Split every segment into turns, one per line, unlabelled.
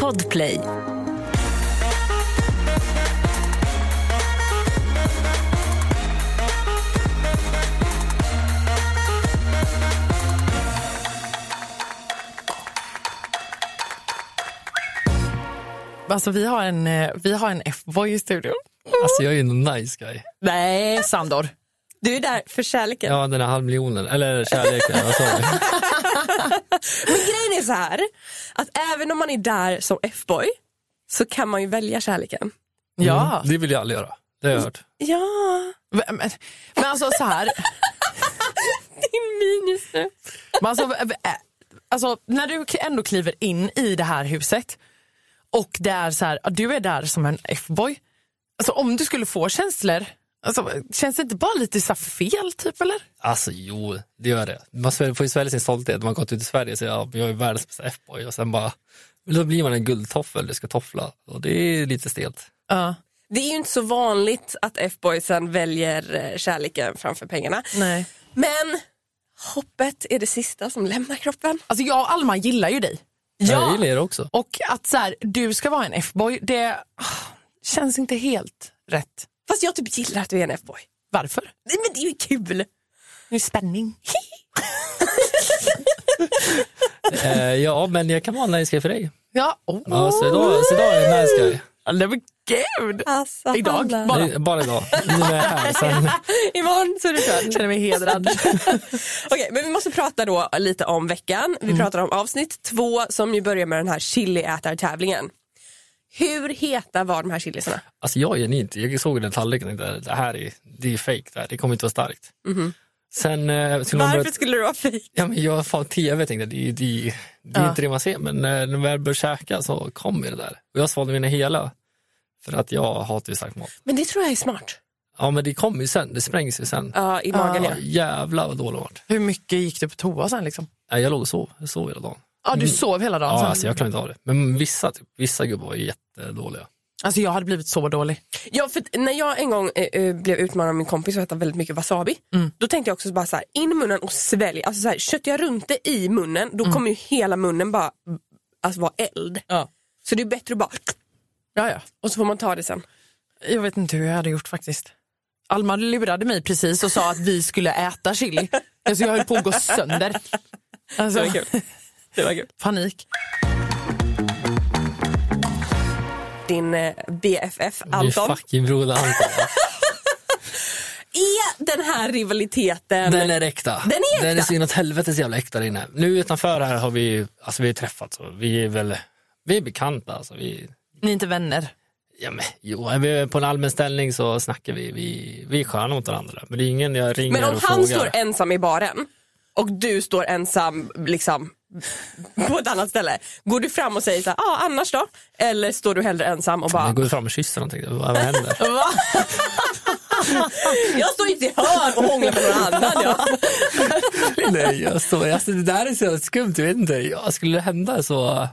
Podplay.
Alltså vi har en, eh, vi har en F-boy i studion.
Alltså jag är ju en nice guy.
Nej, Sandor.
Du är där för kärleken.
Ja, den här halvmiljonen, eller kärleken, vad sa vi?
Men grejen är så här, att även om man är där som F-boy så kan man ju välja kärleken.
Ja.
Mm. Det vill jag aldrig göra. Det har jag hört.
Ja,
Men, men- men alltså så här.
din min just nu.
Men alltså, eh, eh, alltså, när du k- ändå kliver in i det här huset och det är så här, ja, du är där som en F-boy. Alltså, om du skulle få känslor, alltså, känns det inte bara lite så här fel? typ eller?
Alltså jo, det gör det. Man sväljer- får ju svälja sin stolthet. Man har gått ut i Sverige och säger ja, men jag är världens bästa F-boy och sen bara, men då blir man en guldtoffel du ska toffla och det är lite stelt.
Ja.
Det är ju inte så vanligt att F-boysen väljer eh, kärleken framför pengarna.
Nej.
Men hoppet är det sista som lämnar kroppen.
Alltså, jag och Alma gillar ju dig.
Jag gillar er också.
Och att så här, du ska vara en F-boy, det ah, känns inte helt rätt.
Fast jag typ gillar att du är en F-boy.
Varför?
Nej, men det är ju kul.
Nu är spänning.
Eh, ja, men jag kan vara en nice guy för dig.
Ja, oh.
Ja, så idag, så idag är jag en nice guy.
Nej, men gud!
Alltså,
Idag?
Hanna.
Bara.
Det är Bara idag. Nu är jag här. Sen,
Imorgon så är du klar.
känner mig hedrad.
Okej, men vi måste prata då lite om veckan. Vi pratar om avsnitt två som ju börjar med den här chiliätartävlingen. Hur heta var de här chilisarna?
alltså jag är genuint, jag såg den tallriken där, det här är, det är fake det här, det kommer inte vara starkt. Sen eh, skulle man börja
Mhm. Varför skulle det vara fejk?
Ja, men jag fan tv tänkte, det, är- det, är- det är inte det man ser, men eh, när man väl börjar käka så kommer det där. Och jag svalde mina hela, för att jag hatar ju stark mat.
Men det tror jag är smart.
Ja, men det kommer ju sen, det sprängs ju sen.
Ja, i magen ja.
Ja, jävlar vad dålig mat.
Hur mycket gick du på toa sen? Liksom?
Nej, jag låg och sov, jag sov hela dagen.
Ja, du sov hela dagen
Ja,
sen?
alltså jag klarar inte av det. Men vissa, typ, vissa gubbar var jättedåliga.
Alltså jag hade blivit så dålig.
Ja, för att när jag en gång eh, eh, blev utmanad av min kompis att äta väldigt mycket wasabi, då tänkte jag också bara så här, in i munnen och svälj. Alltså så här, köttar jag runt det i munnen, då kommer ju hela munnen bara alltså, vara eld.
Ja.
Så det är bättre att bara,
Ja, ja.
och så får man ta det sen.
Jag vet inte hur jag hade gjort faktiskt. Alma lurade mig precis och sa att vi skulle äta chili. Alltså jag höll på att gå sönder. Alltså,
Det var kul. Det var kul.
Panik.
Din eh, BFF
Min
Anton.
fucking broder Anton.
Är den här rivaliteten...
Den är äkta.
Den är äkta.
Den är så inåt helvetes jävla äkta där inne. Nu utanför här har vi, alltså vi har träffats och vi är väl, vi är bekanta alltså. Vi,
Ni är inte vänner.
Ja, men, jo, är vi på en allmän ställning så snackar vi. Vi, vi är sköna mot varandra. Men det är ingen jag ringer
Men om
och
han
frågar.
står ensam i baren och du står ensam liksom på ett annat ställe, går du fram och säger så här, ah, annars då? Eller står du hellre ensam och bara,
Jag går fram och kysser honom. tänkte jag. Vad vad händer?
jag står inte i hörn och hånglar med någon annan. Ja.
Nej, jag står, alltså, det där är så jävla skumt. Jag vet inte. Ja, skulle det hända så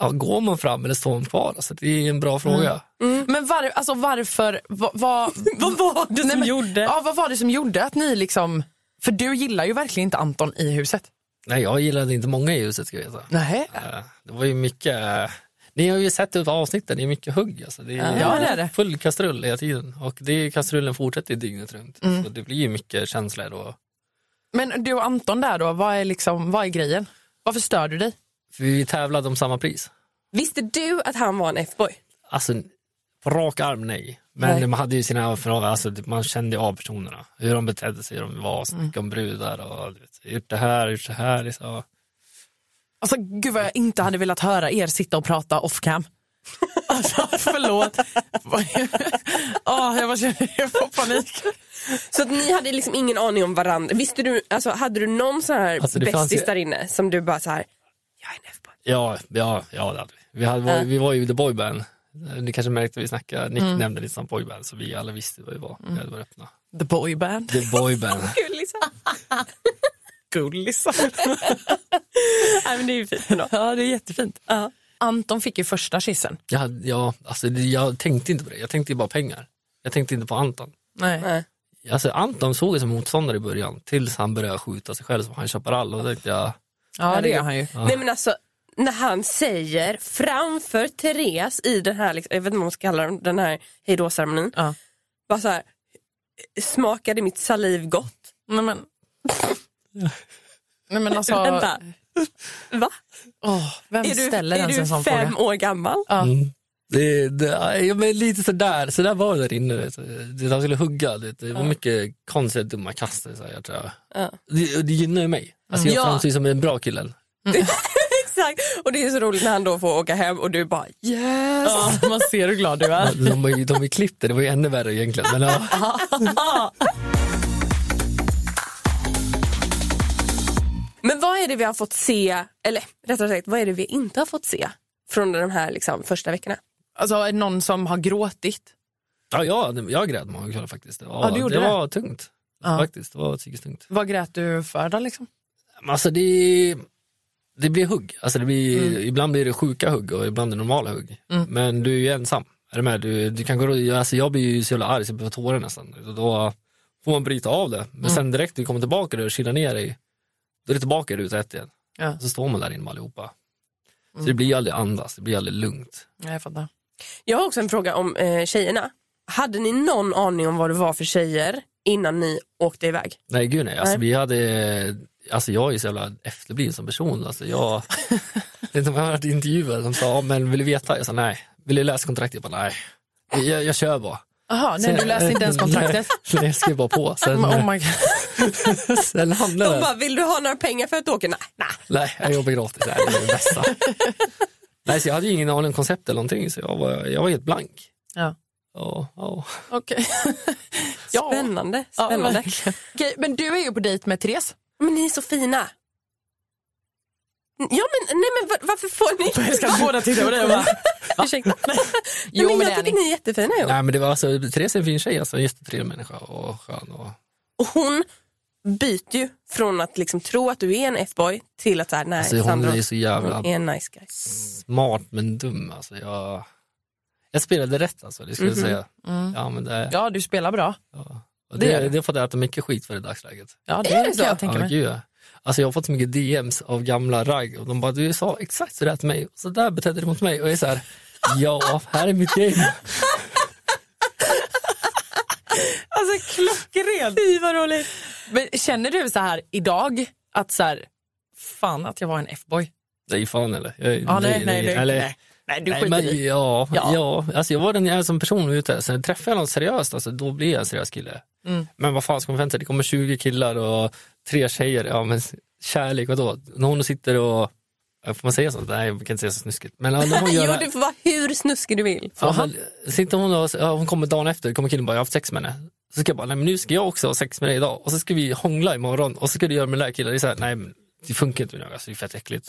ja, går man fram eller står man kvar? Alltså, det är en bra fråga.
Mm.
Men var, alltså varför? Va, va,
Vad var det som
Nej, men-
gjorde?
Ja, vad var det som gjorde att ni liksom... För du gillar ju verkligen inte Anton i huset.
Nej, jag gillade inte många i huset ska jag veta.
Nej.
Eh, Det var ju mycket... eh, Ni har ju sett ut avsnitten, det är mycket hugg. Alltså. Det är
Ja, det är det.
full kastrull hela tiden. Och det, kastrullen fortsätter ju dygnet runt.
Mm.
Så det blir ju mycket känslor. Och,
Men du och Anton där då, vad är, liksom, vad är grejen? Varför stör du dig?
för vi tävlade om samma pris.
Visste du att han var en F-boy?
Alltså, på rak arm nej. Men
Nej.
man hade ju sina förhållanden, alltså, man kände ju av personerna. Hur de betedde sig, hur de var,
Mm.
snackade om brudar och du vet, gjort det här, gjort det här. Liksom.
Alltså gud vad jag inte hade velat höra er sitta och prata off cam. Alltså förlåt. oh, jag, bara känner, jag får panik.
Så att ni hade liksom ingen aning om varandra. Visste du, alltså, hade du någon sån här
Alltså, det fanns
bästis
ju-
där inne som du bara så här, jag är en F-boy?
Ja, ja, ja det hade vi. Vi, hade, var, vi var ju The Boyband. Ni kanske märkte vi snackade, Nick
Mm.
nämnde lite om Boyband så vi alla visste vad vi var. Vi var öppna.
The boyband.
The Boyband.
Kul liksom.
Gullisar.
Nej men det är ju fint ändå.
Ja det är jättefint. Anton fick ju första kyssen.
jag, hade- ja, alltså, det- jag tänkte inte på det, jag tänkte ju bara pengar. Jag tänkte inte på Anton.
Nej.
Alltså, Anton såg jag som motståndare i början tills han började skjuta sig själv som han Chaparral och då tänkte jag
Ja det gör han ju.
Nej men alltså, när han säger framför Therese i den här, liksom, jag vet inte vad man ska kalla den, den här hejdå-ceremonin.
Ja.
Bara så här, smakade mitt saliv gott?
Nej men. Nej men alltså.
Vänta. Va?
Åh, vem
Är du,
ställer
är
ens en sån
du
fråga?
fem år gammal?
Det, det, ja, men lite sådär, sådär var det där inne. Vet du. Det- De skulle hugga, du vet. det var mycket konstiga dumma kast. Så här, jag tror jag.
Ja.
Det, det gynnar ju mig. Alltså,
Mm.
jag
Ja.
framstår ju som en bra kille.
Exakt. Och det är så roligt när han då får åka hem och du bara yes.
Ja, man ser hur glad du är.
De, har ju- de är klippta, det var ju ännu värre egentligen. Men, ja.
Men vad är det vi har fått se, eller rättare sagt vad är det vi inte har fått se från de här liksom, första veckorna?
Alltså är det någon som har gråtit.
Ja, jag, jag grät många kvällar faktiskt. Det var,
Ja, du gjorde
det
det.
var tungt.
Ja.
Faktiskt, det var psykiskt tungt.
Vad grät du för då liksom?
Men Alltså det, det blir hugg. Alltså det blir, Ibland blir det sjuka hugg och ibland är det normala hugg. Men du är ju ensam. Är du med? Du, du kan gå, runt- alltså jag blir ju så jävla arg så jag börjar tårar nästan. Och då får man bryta av det. Men sen direkt när du kommer tillbaka och chillar ner dig, då är du tillbaka i ruta ett igen.
Ja.
Så står man där inne med allihopa. Så det blir ju aldrig andas, det blir aldrig lugnt.
Nej, Jag fattar.
Jag har också en fråga om eh, tjejerna. Hade ni någon aning om vad det var för tjejer innan ni åkte iväg?
Nej gud nej, alltså
Nej.
vi hade, alltså jag är ju så jävla efterbliven som person. Alltså jag, jag vet inte om jag har hört intervjuer som sa, "Ja, men vill du veta? Jag sa nej. Vill du läsa kontraktet? Jag bara nej. Jag, jag kör bara.
Jaha, nej du
Sen-
läste inte ens kontraktet?
Nej, jag skrev bara på. Sen,
Men, oh my God.
sen hamnade
De
det.
bara, vill du ha några pengar för att åka? Nej, nej.
Nej, jag jobbar gratis. Nej, det är det bästa. nej, så jag hade ju ingen aning om koncept eller någonting, så jag var, jag var helt blank.
Ja.
Ja, ja.
Okej. Ja.
Spännande,
Ja,
spännande.
verkligen. Okej, men du är ju på dejt med Therese.
men ni är så fina. Ja men, nej, men var, varför får ni
Jag ska båda titta på dig och bara...
Ursäkta.
Jo,
nej, men jag
men det är
tycker ni är jättefina. Jo.
Nej, men det var alltså, Therese är en fin tjej, alltså, en jättetrevlig människa och skön. Och,
Och hon byter ju från att liksom tro att du är en F-boy till att så här, nej,
alltså, hon
Sandra
är så
hon
jävla
är en nice guy.
smart men dum. Alltså, jag, jag spelade rätt alltså, det skulle jag säga. Ja, men det,
Mhm. Mm. Ja, du spelar bra.
ja. Och
det
det,
gör
det,
det.
det har fått äta mycket skit för i dagsläget.
Ja, det
Är
är
det
det
så?
jag tänker
Ja,
mig.
gud, ja. Alltså, jag har fått så mycket DMs av gamla ragg och de bara, du sa exakt sådär till mig, och så där betedde du mot mig. Och jag är så här, ja, här är mitt game.
Alltså klockrent. Fy vad roligt.
Men känner du så här idag att så här, fan att jag var en F-boy?
Nej, fan eller? Jag,
Ja, nej, nej, nej,
eller-
nej. Nej, du
Nej,
skiter
men,
i.
ja,
Ja.
ja. alltså jag var den jag är som person ute. Sen träffar jag någon seriöst, alltså, då blir jag en seriös kille. Men vad fan ska man vänta sig? Det kommer 20 killar och tre tjejer. Ja, men kärlek, vadå? När hon sitter och... ja, Får man säga sånt? Nej, man kan inte säga så snuskigt. Men alltså, hon gör
Jo,
det.
du får vara hur snuskig du vill.
Ja, men, sitter hon och ja, hon kommer dagen efter, kommer killen bara, jag har haft sex med henne. Så ska jag bara, nej men nu ska jag också ha sex med dig idag. Och så ska vi hångla imorgon och så ska du göra med den där killen. Det är så här, nej men det funkar inte med det, alltså, det är fett äckligt.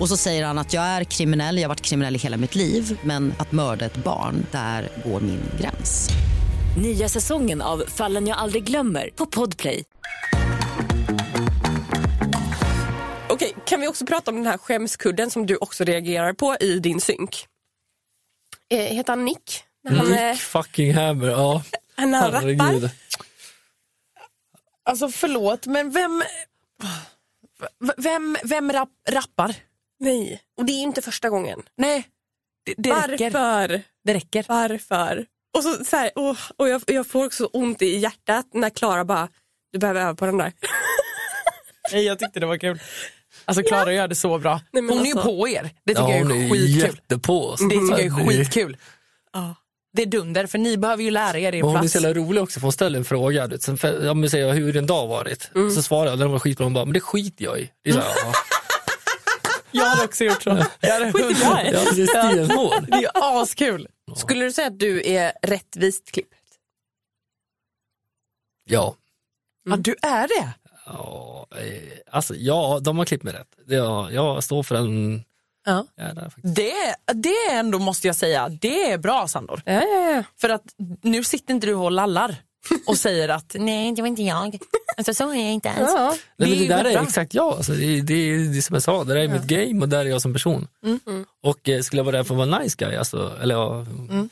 Och så säger han att jag är kriminell, jag har varit kriminell i hela mitt liv men att mörda ett barn, där går min gräns.
Nya säsongen av Fallen jag aldrig glömmer på Podplay.
Okej, kan vi också prata om den här skämskudden som du också reagerar på i din synk? Eh, heter han Nick? När han, eh,
Nick fucking Hammer, ja.
när han rappar?
Herregud.
alltså förlåt, men vem... v- Vem, vem rap, rappar?
Nej, och det är ju inte första gången.
Nej, det, det räcker.
Varför?
Det räcker.
Varför? Och, så, så här, åh, och jag, jag får också ont i hjärtat när Klara bara, du behöver öva på den där.
Nej, jag tyckte det var kul. Alltså Klara gör det så bra.
Nej, men
hon är ju
alltså-
på er. Det tycker
Ja,
jag
hon
är
är
skitkul.
jättepå.
Det tycker jag är
skitkul.
skitkul. Det är dunder, för ni behöver ju lära er
Men
er
hon är
plats.
så jävla rolig också, för hon ställer en fråga. du vet. Sen, för, om jag säger hur har din dag varit,
Mm.
så svarar jag, den var skitbra, hon bara, men det skiter jag i. Det är så här, ja.
Jag hade också gjort så. Jag hade
Skit i
hundra-
dig.
ja, det är stenhård.
Det är ju askul.
Skulle du säga att du är rättvist klippt?
Ja.
Ja,
Mm.
du är det.
Ja, eh, alltså ja, de har klippt mig rätt. Det- Ja, jag står för en
Ja.
Jag är där faktiskt.
Det, det ändå måste jag säga, det är bra Sandor.
Ja, ja, ja.
För att nu sitter inte du och lallar och säger att nej det var inte jag. Alltså, så är jag inte ens.
Ja.
Nej, men
Det
det,
är
där
jättebra.
är exakt jag. Alltså, det, det, det är som jag sa, det där är mitt game och där är jag som person. Och eh, skulle jag vara där för att vara nice guy, alltså, eller ja,
Mm.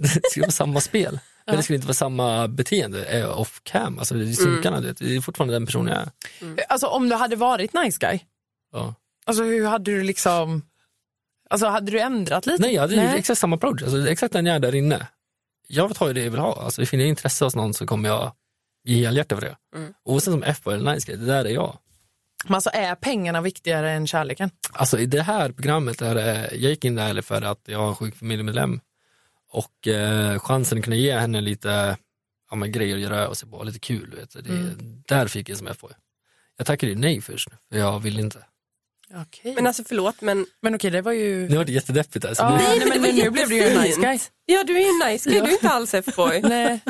det skulle vara samma spel. Men det skulle inte vara samma beteende eh, off cam, alltså det
Mm.
är synkarna, du vet. det är fortfarande den personen jag är.
Alltså om du hade varit nice guy,
Ja.
alltså, hur hade du liksom, alltså hade du ändrat lite?
Nej, jag hade ju exakt samma approach, alltså, det är exakt den jag är där inne. Jag tar ju det jag vill ha, alltså, finner jag intresse hos någon så kommer jag ge helhjärta för det.
Mm.
Oavsett om FH eller nice guy, det där är jag.
Men alltså är pengarna viktigare än kärleken?
Alltså i det här programmet, där, eh, jag gick in där för att jag är en sjuk familjemedlem och eh, chansen att kunna ge henne lite ja, men grejer att göra och sig på, lite kul. Vet du. Det,
Mm.
Där fick jag som jag får. Jag tackade ju nej först, för jag ville inte.
Okej.
Men alltså förlåt men
Men okej, det var ju...
Nu var det jättedeppigt alltså.
Ja,
Nu-
nej, men
det var
nu blev det ju nice
jättefint.
guy.
Ja du är ju en nice guy, du är inte alls F-boy.
Nej.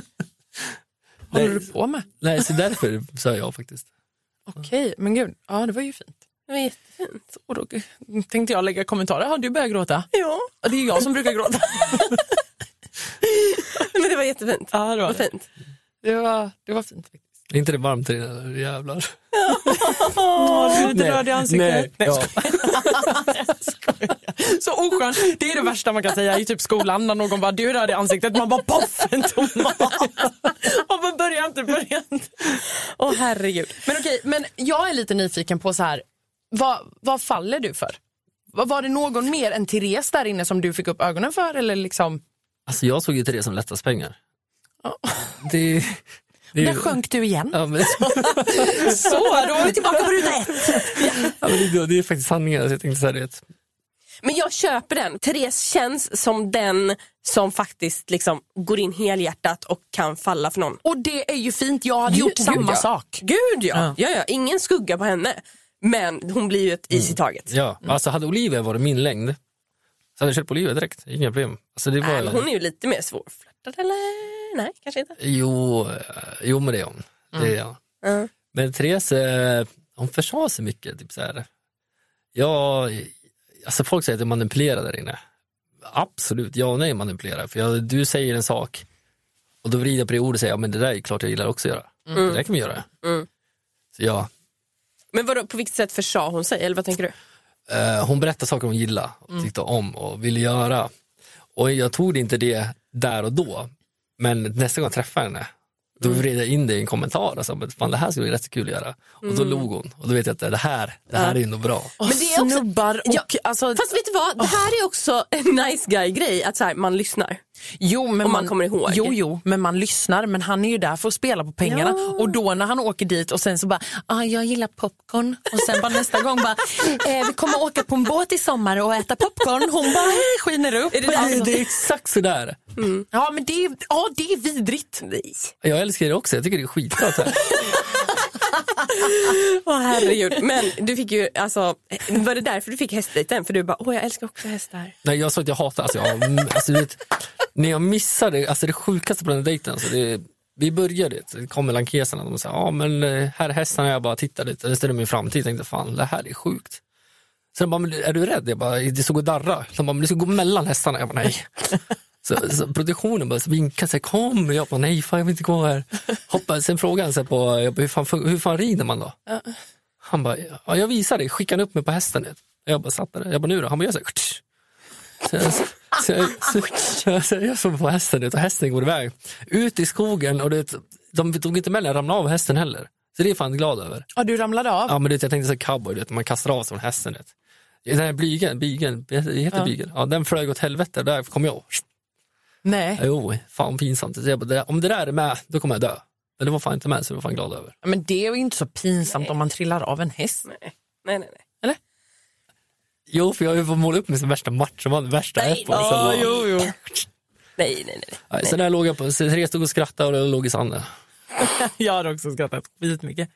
Vad håller
Nej.
du på med?
Nej, så därför sa jag faktiskt.
Okej, men gud. Ja, det var ju fint.
Det var jättefint.
Och då tänkte jag lägga kommentarer. Har du börjat gråta?
Ja,
Ja, Det är ju jag som brukar gråta.
men det var jättefint.
Ja, det var
Vad fint.
Det var, det var fint.
Är inte det varmt i den här jävlar?
Åh, du
Nej, Nej, ja.
Så oskönt. Det är det värsta man kan säga i typ skolan när någon bara du rör i ansiktet. Man bara poff en tomat. Man bara börja inte, börja inte.
Åh herregud.
Men okej, men jag är lite nyfiken på så här. Vad, vad faller du för? Var- Var det någon mer än Therese där inne som du fick upp ögonen för? Eller liksom,
Alltså jag såg ju till det som lättast pengar. Det, det,
där sjönk du igen.
Ja, men,
Så, då var vi tillbaka på ruta ett.
ja, men det, det är faktiskt sanningen. Alltså, jag tänkte så här, du vet,
Men jag köper den. Therese känns som den som faktiskt liksom går in helhjärtat och kan falla för någon.
Och det är ju fint, jag hade gjort
Gud,
samma
ja.
sak.
Gud ja. ja, ja, ingen skugga på henne. Men hon blir ju ett is i taget.
Mm. Ja, alltså hade Olivia varit min längd så hade jag kört på Olivia direkt, inga problem. Alltså det var...
Äh, men hon är ju lite mer svårflörtad eller? Nej, kanske inte.
jo, eh, jo, men det är hon. Det är jag.
Mm.
Men Therese, eh, hon försade sig mycket. Typ så här. Ja, alltså folk säger att jag manipulerar där inne. Absolut, ja och nej manipulerar. För jag, du säger en sak och då vrider jag på det ordet och säger ja, men det där är klart jag gillar också att göra. Det där kan vi göra. Så ja,
Men vadå, på vilket sätt försade hon sig? Eller vad tänker du?
Eh, hon berättade saker hon gillade och tyckte om och ville göra. Och jag tog inte det där och då, men nästa gång jag träffade henne, då vred jag in det i en kommentar och sa, "Men fan det här skulle bli rätt kul att göra. Och då log hon och då vet jag att det här, det här är ju nog bra.
Men det är också... Snubbar och... alltså,
Fast vet du vad, det här är också en nice guy-grej. Att så här, man lyssnar.
Jo, men
Om man kommer ihåg.
Jo, jo, men man lyssnar. Men han är ju där för att spela på pengarna. Och då när han åker dit och sen så bara, ah, jag gillar popcorn. Och sen bara nästa gång bara, eh, vi kommer åka på en båt i sommar och äta popcorn. Hon bara eh, skiner upp.
Det är, det är exakt sådär.
Ja, men det är, ja, det är vidrigt.
Nej.
Jag älskar det också, jag tycker det är skitbra. att säga.
Åh herregud. Men du fick ju, alltså, var det därför du fick hästdejten? För du bara, åh jag älskar också hästar.
Nej, jag sa att jag hatar, alltså, jag, mm, alltså, du vet, när jag missade, alltså det sjukaste på den här dejten, alltså, det, vi började, det kom med lankeserna, de sa, ja men eh, här är hästarna, jag bara tittade lite, det ställde mig i framtid, tänkte fan det här är sjukt. Så de bara, men är du rädd? Jag bara, det såg och darra. De bara, men du ska gå mellan hästarna. Jag bara, nej. Så, så produktionen bara vinkade, så här, kom. Jag bara, nej fan jag vill inte gå här. Hoppa, sen frågade han så här på, jag bara, hur, fan, hur fan rider man då? Han bara, ja, jag visar dig. Skickade upp mig på hästen. du vet. Jag bara satt där, jag bara, nu då? Han bara, gör så här. "Ktsch." Så jag, så jag, så, så jag, så jag såg på hästen ut och hästen går iväg. Ut i skogen och det, de tog inte med den, ramlade av hästen heller. Så det är jag fan glad över.
Ja, du ramlade av.
Ja men du vet, jag tänkte så här cowboy, du vet, man kastar av sig från hästen. du Vet. Den här blygen, bygeln, det heter bygeln, ja, den flög åt helvete, där kom jag.
Nej,
Jo, fan pinsamt. Så jag bara, det där- om det där är med, då kommer jag dö. Men det var fan inte med, så det var fan glad över.
men det är ju inte så pinsamt om man trillar av en häst.
Nej, nej, nej. nej.
Jo, för jag har ju fått måla upp mig som värsta matchman, värsta
Nej,
äppel. Så, bara-
jo.
nej, nej, nej, nej.
Nej, så där låg jag på, så Therese stod och skrattade och jag låg i sanden.
Jag hade också skrattat skitmycket.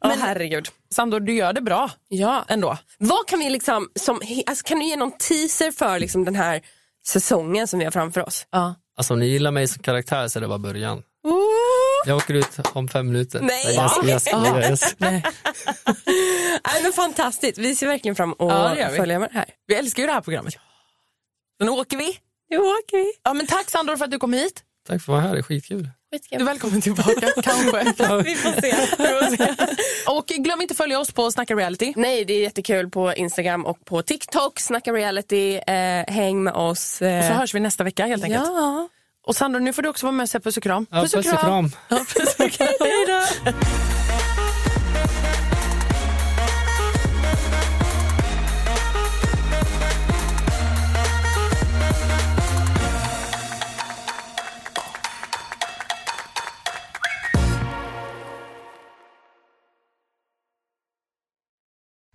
Åh herregud.
Sandor, du gör det bra
Ja.
ändå.
Vad kan vi liksom, som, alltså, kan du ge någon teaser för liksom, den här säsongen som vi har framför oss?
Ja.
Alltså om ni gillar mig som karaktär så är det bara början. Jag åker ut om fem minuter.
Nej.
Yes, yes,
Va?
yes.
Nej, men fantastiskt, vi ser verkligen fram emot
Ja,
att
det gör vi.
följa med det här.
Vi älskar ju det här programmet. Men nu åker vi.
Nu åker vi.
Ja, men tack Sandor för att du kom hit.
Tack för att vara här, det är skitkul.
Du är välkommen tillbaka, kanske.
Vi får se.
Och glöm inte att följa oss på Snacka Reality.
Nej, det är jättekul på Instagram och på TikTok. Snacka reality, eh, häng med oss. Eh.
Så hörs vi nästa vecka helt enkelt.
ja.
Och Sandor, nu får du också vara med och säga puss och kram.
Ja, puss och kram.
Ja, puss och kram. Hej då.